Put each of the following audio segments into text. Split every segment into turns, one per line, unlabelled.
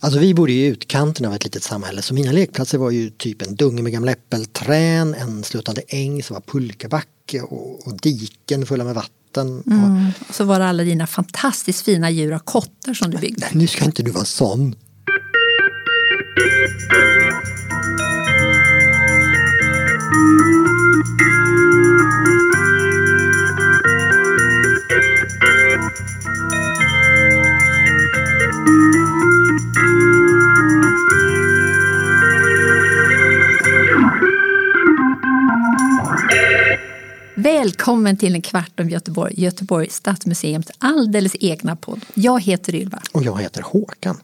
Alltså vi bodde i utkanten av ett litet samhälle så mina lekplatser var ju typ en dunge med gamla äppelträn, en sluttande äng som var pulkabacke och, och diken fulla med vatten. Och,
Mm. Och så var det alla dina fantastiskt fina djur och kottar som du byggde.
nej, nu ska inte du vara sån.
Välkommen till en kvart om Göteborg, Göteborgs stadsmuseums alldeles egna podd. Jag heter Ylva.
Och jag heter Håkan.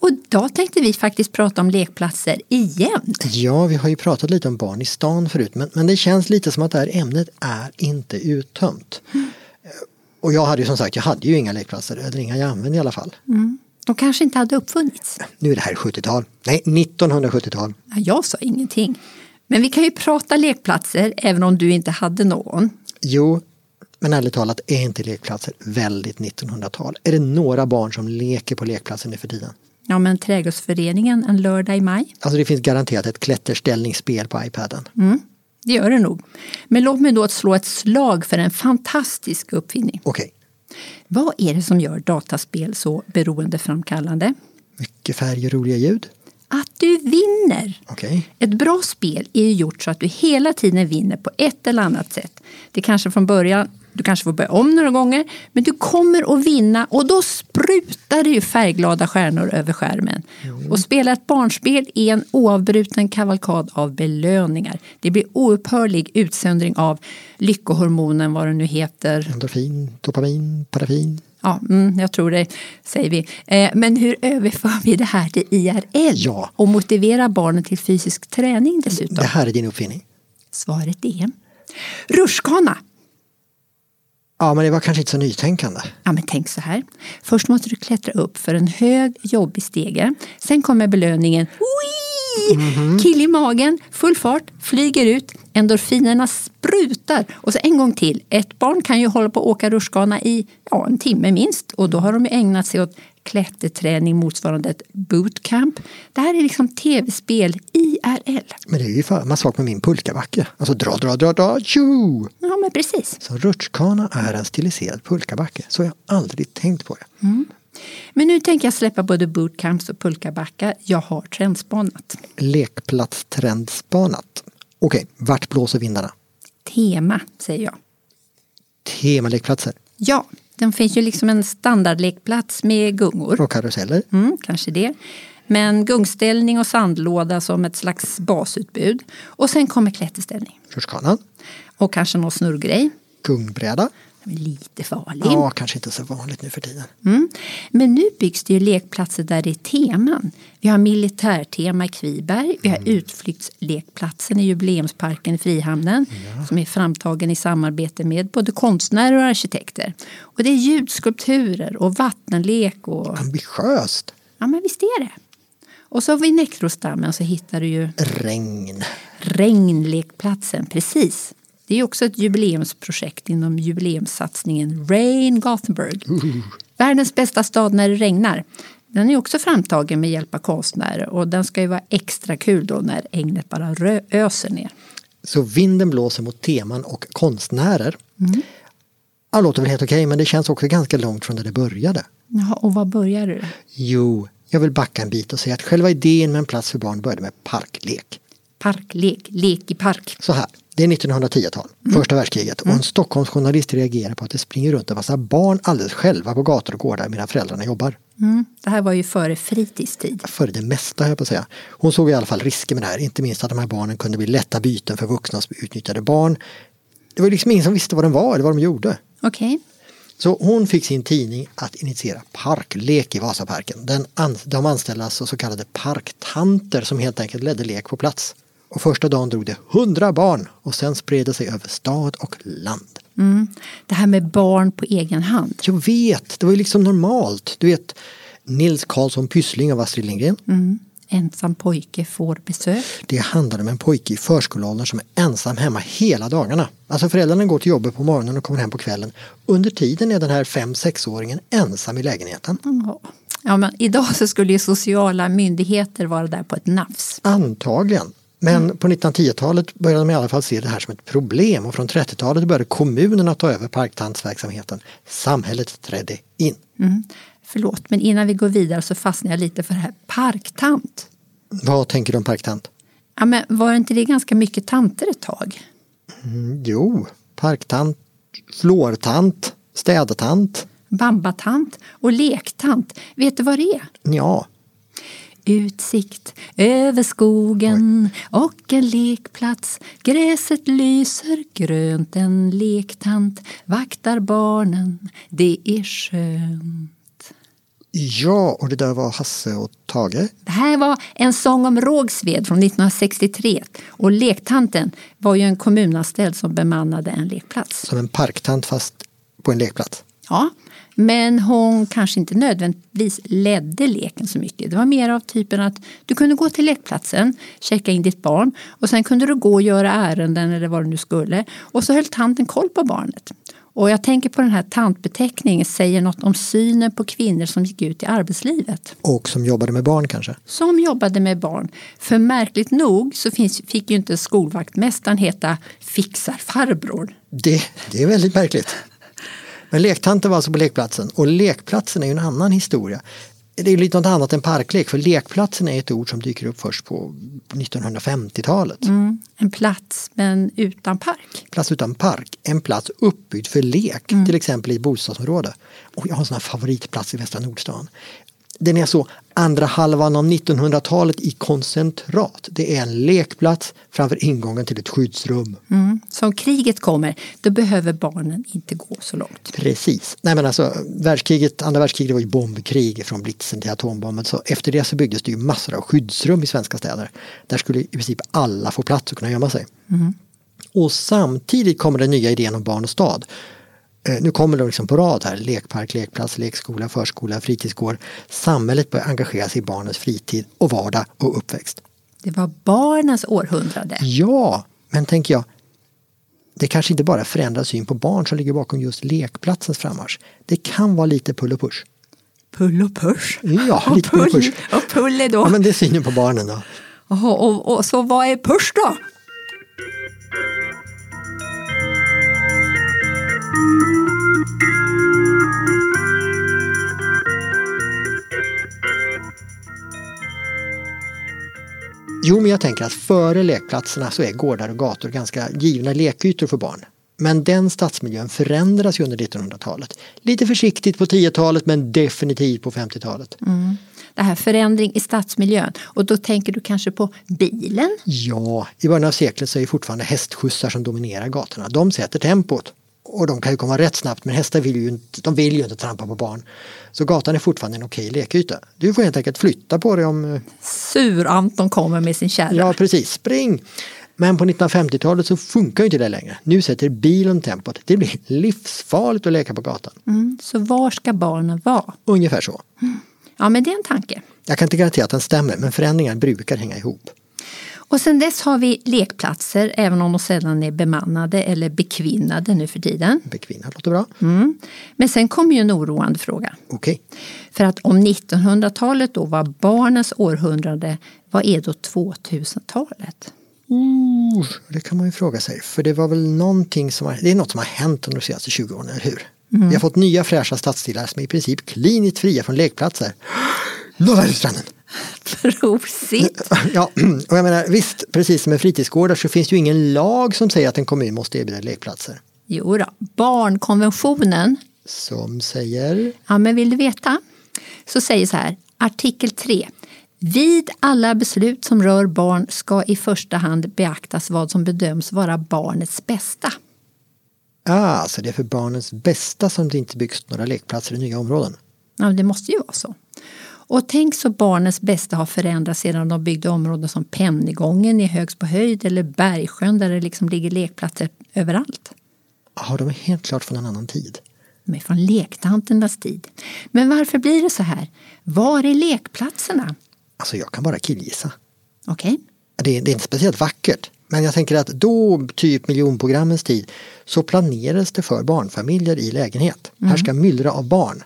Och idag tänkte vi faktiskt prata om lekplatser igen.
Ja, vi har ju pratat lite om barn i stan förut men, men det känns lite som att det här ämnet är inte uttömt. Eh, Och jag hade ju som sagt, jag hade ju inga lekplatser, eller inga jag använde i alla fall.
De kanske inte hade uppfunnits.
Nu är det här 70-tal, nej 1970-tal.
Ja, Jag sa ingenting. Men vi kan ju prata lekplatser även om du inte hade någon.
Jo, men ärligt talat är inte lekplatser väldigt 1900-tal? Är det några barn som leker på lekplatser nu för tiden?
Ja, men Trädgårdsföreningen en lördag i maj.
Alltså det finns garanterat ett klätterställningsspel på iPaden.
Mm, det gör det nog. Men låt mig då att slå ett slag för en fantastisk uppfinning.
Okej,
Vad är det som gör dataspel så beroendeframkallande?
mycket färger och roliga ljud.
Att du vinner!
Okej,
Ett bra spel är ju gjort så att du hela tiden vinner på ett eller annat sätt. Det kanske från början, du kanske får börja om några gånger, men du kommer att vinna och då sprutar det ju färgglada stjärnor över skärmen. Och spela ett barnspel är en oavbruten kavalkad av belöningar. Det blir oupphörlig utsöndring av lyckohormonen, vad den nu heter.
endorfin, dopamin, paraffin.
Ja, mm, jag tror det, säger vi. Eh, men hur överför vi det här till IRL?
Ja.
Och motiverar barnen till fysisk träning dessutom?
Det här är din uppfinning.
Svaret är rutschkana.
Ja, men det var kanske inte så nytänkande.
Ja, men tänk så här. Först måste du klättra upp för en hög, jobbig stege. Sen kommer belöningen. Oi! Kill i magen, full fart, flyger ut, endorfinerna sprutar. Och så en gång till. Ett barn kan ju hålla på att åka rutschkana i ja, en timme minst. Och då har de ju ägnat sig åt klätterträning motsvarande ett bootcamp. Det här är liksom tv-spel, IRL.
Men det är ju samma sak med min pulkabacke. Alltså dra, dra, dra, dra, tjo!
Ja, men precis.
Så rutschkana är en stiliserad pulkabacke. Så har jag aldrig tänkt på det.
Men nu tänker jag släppa både bootcamps och pulkabackar. Jag har trendspanat.
Lekplatstrendspanat. Okej, vart blåser vindarna?
Tema, säger jag.
Temalekplatser
Ja, den finns ju liksom en standardlekplats med gungor.
och karuseller.
Mm, kanske det. Men gungställning och sandlåda som ett slags basutbud. Och sen kommer klätterställning.
Rutschkanan,
Och kanske någon snurrgrej.
gungbräda.
Den är Lite farlig.
Ja, kanske inte så vanligt nu för tiden.
Mm. Men nu byggs det ju lekplatser där det är teman. Vi har militärtema i Kviberg, vi har utflyktslekplatsen i Jubileumsparken i Frihamnen som är framtagen i samarbete med både konstnärer och arkitekter. Och det är ljudskulpturer och vattenlek och
Ambitiöst.
ja, men visst är det. Och så vid Näckrosdammen så hittar du ju
Regn.
Regnlekplatsen, precis. Det är ju också ett jubileumsprojekt inom jubileumssatsningen Rain Gothenburg. Världens bästa stad när det regnar. Den är också framtagen med hjälp av konstnärer och den ska ju vara extra kul då när regnet bara rö- öser ner.
Så vinden blåser mot teman och konstnärer. Ja, låter väl helt okej, men det känns också ganska långt från där det började.
Jaha, och var börjar du?
Jo, jag vill backa en bit och säga att själva idén med en plats för barn började med parklek.
Parklek, lek i park.
Så här, det är 1910-tal, första världskriget och en Stockholmsjournalist reagerar på att det springer runt en massa barn alldeles själva på gator och gårdar medan föräldrarna jobbar.
Mm. Det här var ju före fritidstid.
För det mesta höll jag på att säga. Hon såg i alla fall risker med det här, inte minst att de här barnen kunde bli lätta byten för vuxna som utnyttjade barn. Det var liksom ingen som visste vad de var eller vad de gjorde.
Okej.
Så hon fick sin tidning att initiera parklek i Vasaparken. Den an- de anställda alltså så, så kallade parktanter som helt enkelt ledde lek på plats. Och första dagen drog det hundra barn och sen spred det sig över stad och land.
Mm. Det här med barn på egen hand.
Jag vet, det var ju liksom normalt. Du vet Nils Karlsson Pyssling av Astrid Lindgren.
Mm. Ensam pojke får besök.
Det handlar om en pojke i förskoleåldern som är ensam hemma hela dagarna. Alltså föräldrarna går till jobbet på morgonen och kommer hem på kvällen. Under tiden är den här 5-6-åringen ensam i lägenheten.
Ja, Ja, men idag så skulle ju sociala myndigheter vara där på ett nafs.
Antagligen. Men på 1910-talet började de i alla fall se det här som ett problem och från 30-talet började kommunerna ta över parktandsverksamheten. Samhället trädde in.
Mm. Förlåt, men innan vi går vidare så fastnar jag lite för det här parktant.
Vad tänker du om parktant?
Ja, men var inte det ganska mycket tanter ett tag?
Mm, Jo, parktant, flårtant, städtant.
Bambatant och lektant. Vet du vad det är?
Ja,
Utsikt över skogen och en lekplats. Gräset lyser grönt, en lektant vaktar barnen. Det är skönt.
ja och det där var Hasse och Tage.
Det här var en sång om Rågsved från 1963 och lektanten var ju en kommunanställd som bemannade en lekplats.
Som en parktant fast på en lekplats.
Ja, men hon kanske inte nödvändigtvis ledde leken så mycket. Det var mer av typen att du kunde gå till lekplatsen, checka in ditt barn och sen kunde du gå och göra ärenden eller vad du nu skulle och så höll tanten koll på barnet. Och jag tänker på den här tantbeteckningen säger något om synen på kvinnor som gick ut i arbetslivet.
Och som jobbade med barn kanske.
som jobbade med barn. För märkligt nog så finns, fick ju inte skolvaktmästaren heta fixarfarbror.
Det, det är väldigt märkligt. Men lektanten var alltså på lekplatsen och lekplatsen är ju en annan historia. Det är ju lite något annat än parklek för lekplatsen är ett ord som dyker upp först på 1950-talet.
Mm. En plats men utan park.
Plats utan park, en plats uppbyggd för lek, till exempel i ett bostadsområde. Och jag har en sån här favoritplats i Västra Nordstan. Den är så andra halvan av 1900-talet i koncentrat. Det är en lekplats framför ingången till ett skyddsrum.
Mm. Så om kriget kommer då behöver barnen inte gå så långt.
Precis. Nej, men alltså, världskriget, andra världskriget var ju bombkrig från blitzen till atombomben. Så efter det så byggdes det ju massor av skyddsrum i svenska städer. Där skulle i princip alla få plats och kunna gömma sig. Och samtidigt kommer den nya idén om barn och stad. Eh, Nu kommer de liksom på rad här. Lekpark, lekplats, lekskola, förskola, fritidsgård. Samhället börjar engagera sig i barnens fritid och vardag och uppväxt.
Det var barnens århundrade.
Ja, men tänker jag, det kanske inte bara är förändrad syn på barn som ligger bakom just lekplatsens frammarsch. Det kan vara lite pull och push.
Pull och push.
Ja,
och
lite pull och push.
Och pull är då.
Ja, men det är synen på barnen då.
Jaha, och, och, så vad är push då?
Jo, men jag tänker att före lekplatserna så är gårdar och gator ganska givna lekytor för barn. Men den stadsmiljön förändras ju under 1900-talet. Lite försiktigt på 10-talet men definitivt på 50-talet.
Det här förändring i stadsmiljön. Och då tänker du kanske på bilen?
Ja, i början av seklet så är det fortfarande hästskjutsar som dominerar gatorna. De sätter tempot. Och de kan ju komma rätt snabbt men hästar vill ju inte, de vill ju inte trampa på barn. Så gatan är fortfarande en okej lekyta. Du får helt enkelt flytta på dig om eh,
Sur-Anton kommer med sin kärra.
Ja, precis. Spring! Men på 1950-talet så funkar ju inte det längre. Nu sätter bilen tempot. Det blir livsfarligt att leka på gatan.
Mm, så var ska barnen vara?
Ungefär så.
Ja, men det är en tanke.
Jag kan inte garantera att den stämmer, men förändringar brukar hänga ihop.
Och sen dess har vi lekplatser, även om de sällan är bemannade eller bekvinnade nu för tiden.
Bekvinna låter bra.
Mm. Men sen kommer ju en oroande fråga.
Okej.
För att om 1900-talet då var barnens århundrade, vad är då 2000-talet?
Ooh, Det kan man ju fråga sig. För det var väl någonting som har, det är något som har hänt under de senaste 20 åren, eller hur? Vi har fått nya fräscha stadsdelar som är i princip kliniskt fria från lekplatser. Blåvärldsstranden!
Prosit!
Ja, och jag menar visst, precis som med fritidsgårdar så finns det ju ingen lag som säger att en kommun måste erbjuda lekplatser.
Jo då, barnkonventionen
Som säger...
Ja, men vill du veta? Så säger så här, artikel 3. Vid alla beslut som rör barn ska i första hand beaktas vad som bedöms vara barnets bästa.
Ah, så det är för barnens bästa som det inte byggs några lekplatser i nya områden.
Ja, men det måste ju vara så. Och tänk så barnens bästa har förändrats sedan de byggde områden som Pennygången i Högs på höjd eller Bergsjön där det liksom ligger lekplatser överallt.
Ja, de är helt klart från en annan tid.
De är från lektanternas tid. Men varför blir det så här? Var är lekplatserna?
Alltså, jag kan bara killgissa.
Okej?
Det är, det är inte speciellt vackert. Men jag tänker att då, typ miljonprogrammens tid, så planerades det för barnfamiljer i lägenhet. Här ska myllra av barn.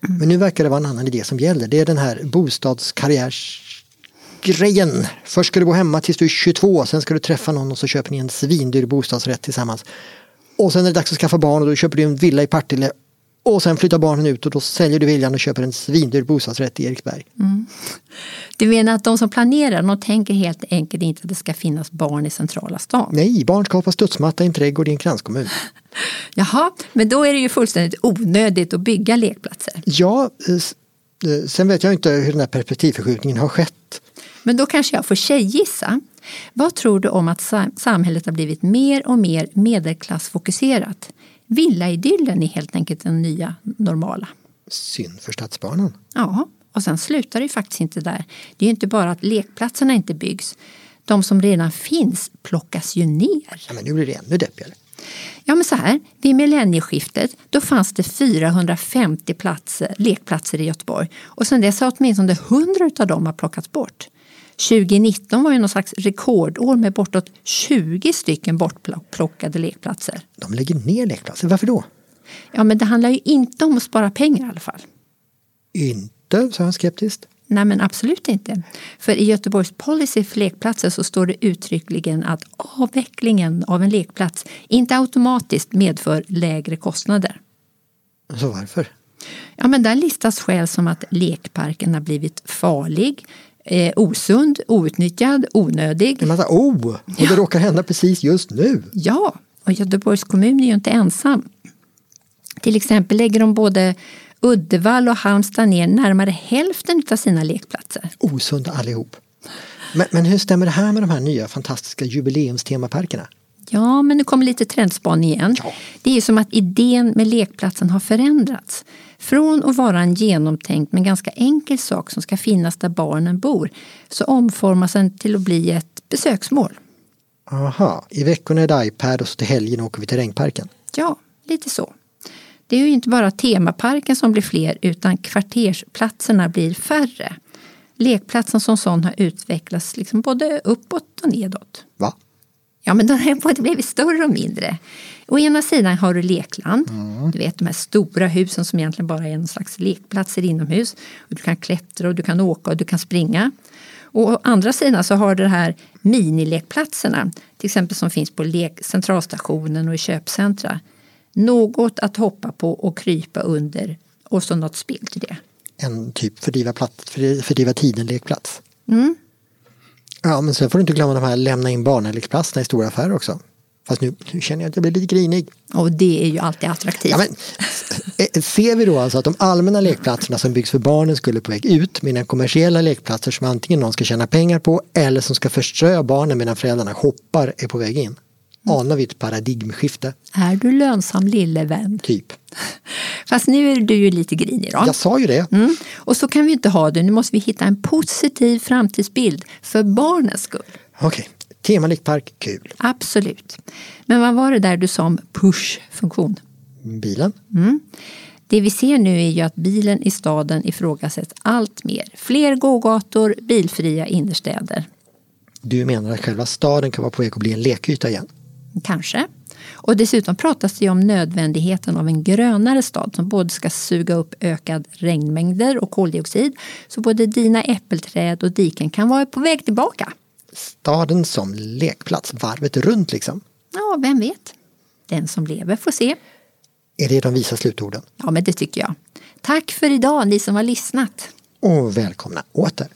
Men nu verkar det vara en annan idé som gäller. Det är den här bostadskarriärsgrejen. Först ska du bo hemma tills du är 22, sen ska du träffa någon och så köper ni en svindyr bostadsrätt tillsammans. Och sen är det dags att skaffa barn och då köper du en villa i Partille och sen flyttar barnen ut och då säljer du viljan och köper en svindyr bostadsrätt i Eriksberg.
Du menar att de som planerar, de tänker helt enkelt inte att det ska finnas barn i centrala stan?
Nej, barn ska hoppa studsmatta i en trädgård i en kranskommun.
Jaha, men då är det ju fullständigt onödigt att bygga lekplatser.
Ja, eh, s- eh, sen vet jag inte hur den här perspektivförskjutningen har skett.
Men då kanske jag får tjejgissa. Vad tror du om att sam- samhället har blivit mer och mer medelklassfokuserat? Villaidyllen är helt enkelt den nya normala.
Synd för stadsbarnen.
Ja, och sen slutar det ju faktiskt inte där. Det är ju inte bara att lekplatserna inte byggs. De som redan finns plockas ju ner.
Ja, men nu blir det ännu deppigare.
Ja, men så här, vid millennieskiftet då fanns det 450 platser, lekplatser i Göteborg och sen dess har åtminstone 100 av dem har plockats bort. 2019 var ju någon slags rekordår med bortåt 20 stycken bortplockade lekplatser.
De lägger ner lekplatser. Varför då?
Ja, men det handlar ju inte om att spara pengar i alla fall.
Inte, sa han skeptiskt.
Nej, men absolut inte. För i Göteborgs policy för lekplatser så står det uttryckligen att avvecklingen av en lekplats inte automatiskt medför lägre kostnader.
Så varför?
Ja, men där listas skäl som att lekparken har blivit farlig, eh, osund, outnyttjad, onödig.
En massa oh! Och det råkar hända precis just nu.
Ja, och Göteborgs kommun är ju inte ensam. Till exempel lägger de både Uddevalla och Halmstad ner närmare hälften av sina lekplatser.
Osunda allihop. Men, men hur stämmer det här med de här nya fantastiska jubileumstemaparkerna?
Ja, men nu kommer lite trendspaning igen.
Ja.
Det är ju som att idén med lekplatsen har förändrats. Från att vara en genomtänkt men ganska enkel sak som ska finnas där barnen bor så omformas den till att bli ett besöksmål.
Aha, i veckorna är det iPad och så till helgen åker vi till regnparken.
Ja, lite så. Det är ju inte bara temaparken som blir fler utan kvartersplatserna blir färre. Lekplatsen som sån har utvecklats liksom både uppåt och nedåt.
Va?
Ja, men de har både blivit större och mindre. Å ena sidan har du lekland,
Mm.
du vet de här stora husen som egentligen bara är en slags lekplatser inomhus. Och du kan klättra och du kan åka och du kan springa. Och å andra sidan så har du de här minilekplatserna, till exempel som finns på lek- centralstationen och i köpcentra. Något att hoppa på och krypa under och så något spel till det.
En typ fördriva, plats, fördriva, fördriva tiden-lekplats. Ja, men sen får du inte glömma de här lämna in barnen-lekplatserna i stora affärer också. Fast nu, nu känner jag att jag blir lite grinig.
Och det är ju alltid attraktivt.
Ja, men, eh, ser vi då alltså att de allmänna lekplatserna som byggs för barnen skulle på väg ut medan kommersiella lekplatser som antingen någon ska tjäna pengar på eller som ska förströ barnen medan föräldrarna hoppar är på väg in? Anar vi ett paradigmskifte?
Är du lönsam lille vän?
Typ.
Fast nu är du ju lite grinig då.
Jag sa ju det.
Mm. Och så kan vi inte ha det. Nu måste vi hitta en positiv framtidsbild för barnens skull.
Okej, temalekpark, kul.
Absolut. Men vad var det där du sa om push-funktion?
Bilen?
Det vi ser nu är ju att bilen i staden ifrågasätts allt mer. Fler gågator, bilfria innerstäder.
Du menar att själva staden kan vara på väg att bli en lekyta igen?
Kanske. Och dessutom pratas det ju om nödvändigheten av en grönare stad som både ska suga upp ökad regnmängder och koldioxid. Så både dina äppelträd och diken kan vara på väg tillbaka.
Staden som lekplats, varvet runt liksom.
Ja, vem vet? Den som lever får se.
Är det de visa slutorden?
Ja, men det tycker jag. Tack för idag, ni som har lyssnat.
Och välkomna åter!